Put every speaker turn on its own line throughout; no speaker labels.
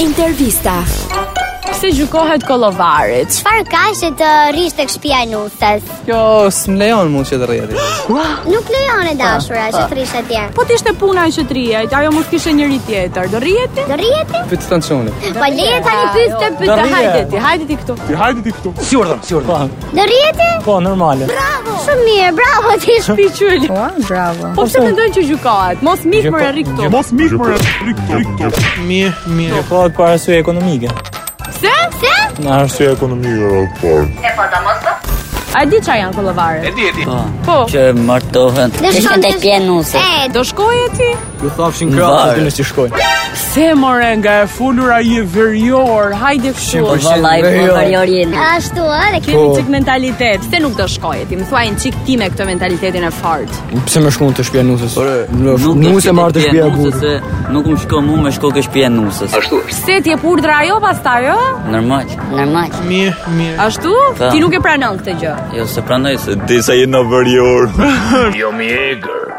Intervista.
Pse gjykohet kollovarit?
Çfarë ka që të rish tek shtëpia e nusës?
Kjo s'm lejon mua që të rrjeti.
Nuk lejon e dashura që të rish atje.
Po t'ishte puna që të rrihet, ajo mos kishte njëri tjetër. Do rriheti?
Do rriheti?
Pyet stancionit.
Po leje
Tani
tani pyes
pyeste pyet
Do
të
rrihet.
hajde ti, hajde ti këtu.
Si urdhëm, si urdhëm.
Do rriheti?
Po, normale.
Bravo. Shumë mirë, bravo ti.
Piqyli.
Ua, bravo.
Po pse mendojnë që gjykohet? Mos mik më rri këtu.
Mos mikë për rikto.
Mirë, mirë.
Po, për arsye ekonomike.
Pse? Pse?
Në arsye ekonomike.
A di çfarë janë kollovaret? E di, e di. Po.
që martohen.
Do shkon tek
pje nuse.
E,
Do shkoje ti?
Ju thafshin
Po,
krahët.
dinë si shkojnë.
Pse more nga e fulur ai e verior, hajde kështu.
Vallaj, po
Vejo.
varjorin.
ashtu ë, dhe kjo
Kemi çik mentalitet. Pse nuk do shkoje ti? Më thuaj një çik ti me këtë mentalitetin e fortë.
Pse më shkon të shtëpia nusës? Ore, nuse marr të shtëpia burrit.
Nuk më shko mu me shko ke shtëpia e nusës. Ashtu.
Pse ti e purdra ajo pastaj, ë?
Normal.
Normal.
Mirë, mirë.
Ashtu?
Po.
Ti nuk e pranon këtë gjë.
Jo se prandaj se disa je në vërjor.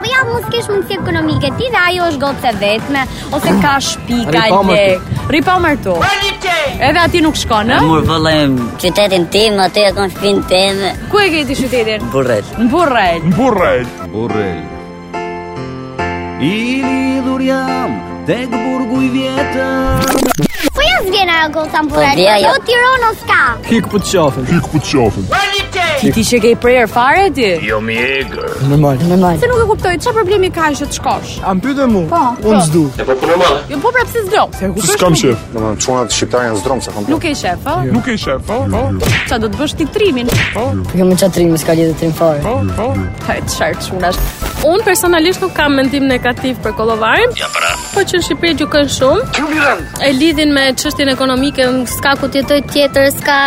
po ja mos kesh mundësi ekonomike ti dhe ajo është gocë e vetme ose ka shtëpi, ka
Ripa më
lek.
Ripa më tu. Edhe aty nuk shkon, ë?
Mor vallaj
Qytetin tim, aty e kanë shpinë time.
Ku e ke ti qytetin?
burret.
Në Burrel.
Burrë.
Burrel. I lidhur jam tek burgu i vjetër.
Po ja s'vjen ajo goca në
Po,
burrë.
vjen ajo.
Jo Tiranë s'ka.
Hik po të qafën.
Hik ku të qofën.
Ti ti që ke prerë fare ti? Jo.
Normal.
Normal.
Se nuk e kuptoj, çfarë problemi ka që të shkosh?
A më pyetë mua?
Po.
Unë s'du.
Jo po prapë si s'do. Se
Pse s'kam shef?
Domethënë çunat shqiptarë janë zdromë sa kanë.
Nuk e shef, ë?
Nuk e shef, po, po,
Çfarë do të bësh ti trimin?
Po jo me çatrim, s'ka lidhje trim fare.
po, po.
Haj çfarë çunash.
Unë personalisht nuk kam mendim negativ për kollovarin. Ja, pra. Po që në Shqipëri gjykojnë shumë. E lidhin me çështjen ekonomike, s'ka ku të jetoj tjetër, s'ka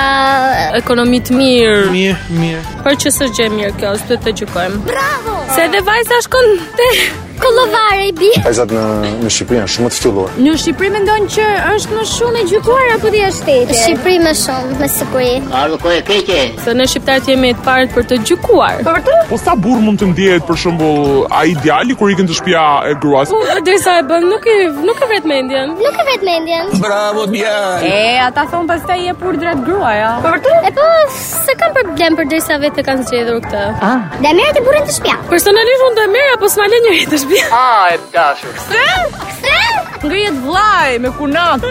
ekonomi të mirë.
Mirë, mirë.
Por që s'është gjë e mirë kjo, s'do të gjykojmë.
Bravo.
Se edhe vajza shkon te
Kollovare i bi.
Vajzat në në Shqipëri janë shumë të ftyllur.
Në Shqipëri mendojnë që është më shumë e gjykuar apo di është
Në Shqipëri më shumë, me siguri.
se ne shqiptarët jemi të parët për të gjykuar. Po
Po sa burr mund të ndihet për shembull ai djali kur ikën të shtëpia e gruas?
derisa e bën, nuk e nuk e vret mendjen.
Nuk e vet mendjen.
E, ata thon pastaj je purdrat gruaja. Po
E po, se kam problem për derisa vetë e kanë zgjedhur këtë.
Ah. Dhe merret e burrin të shtëpia.
Personalisht unë do e merr apo s'ma lë njëri të shtëpi.
Pse?
ngrihet vllai me kunat.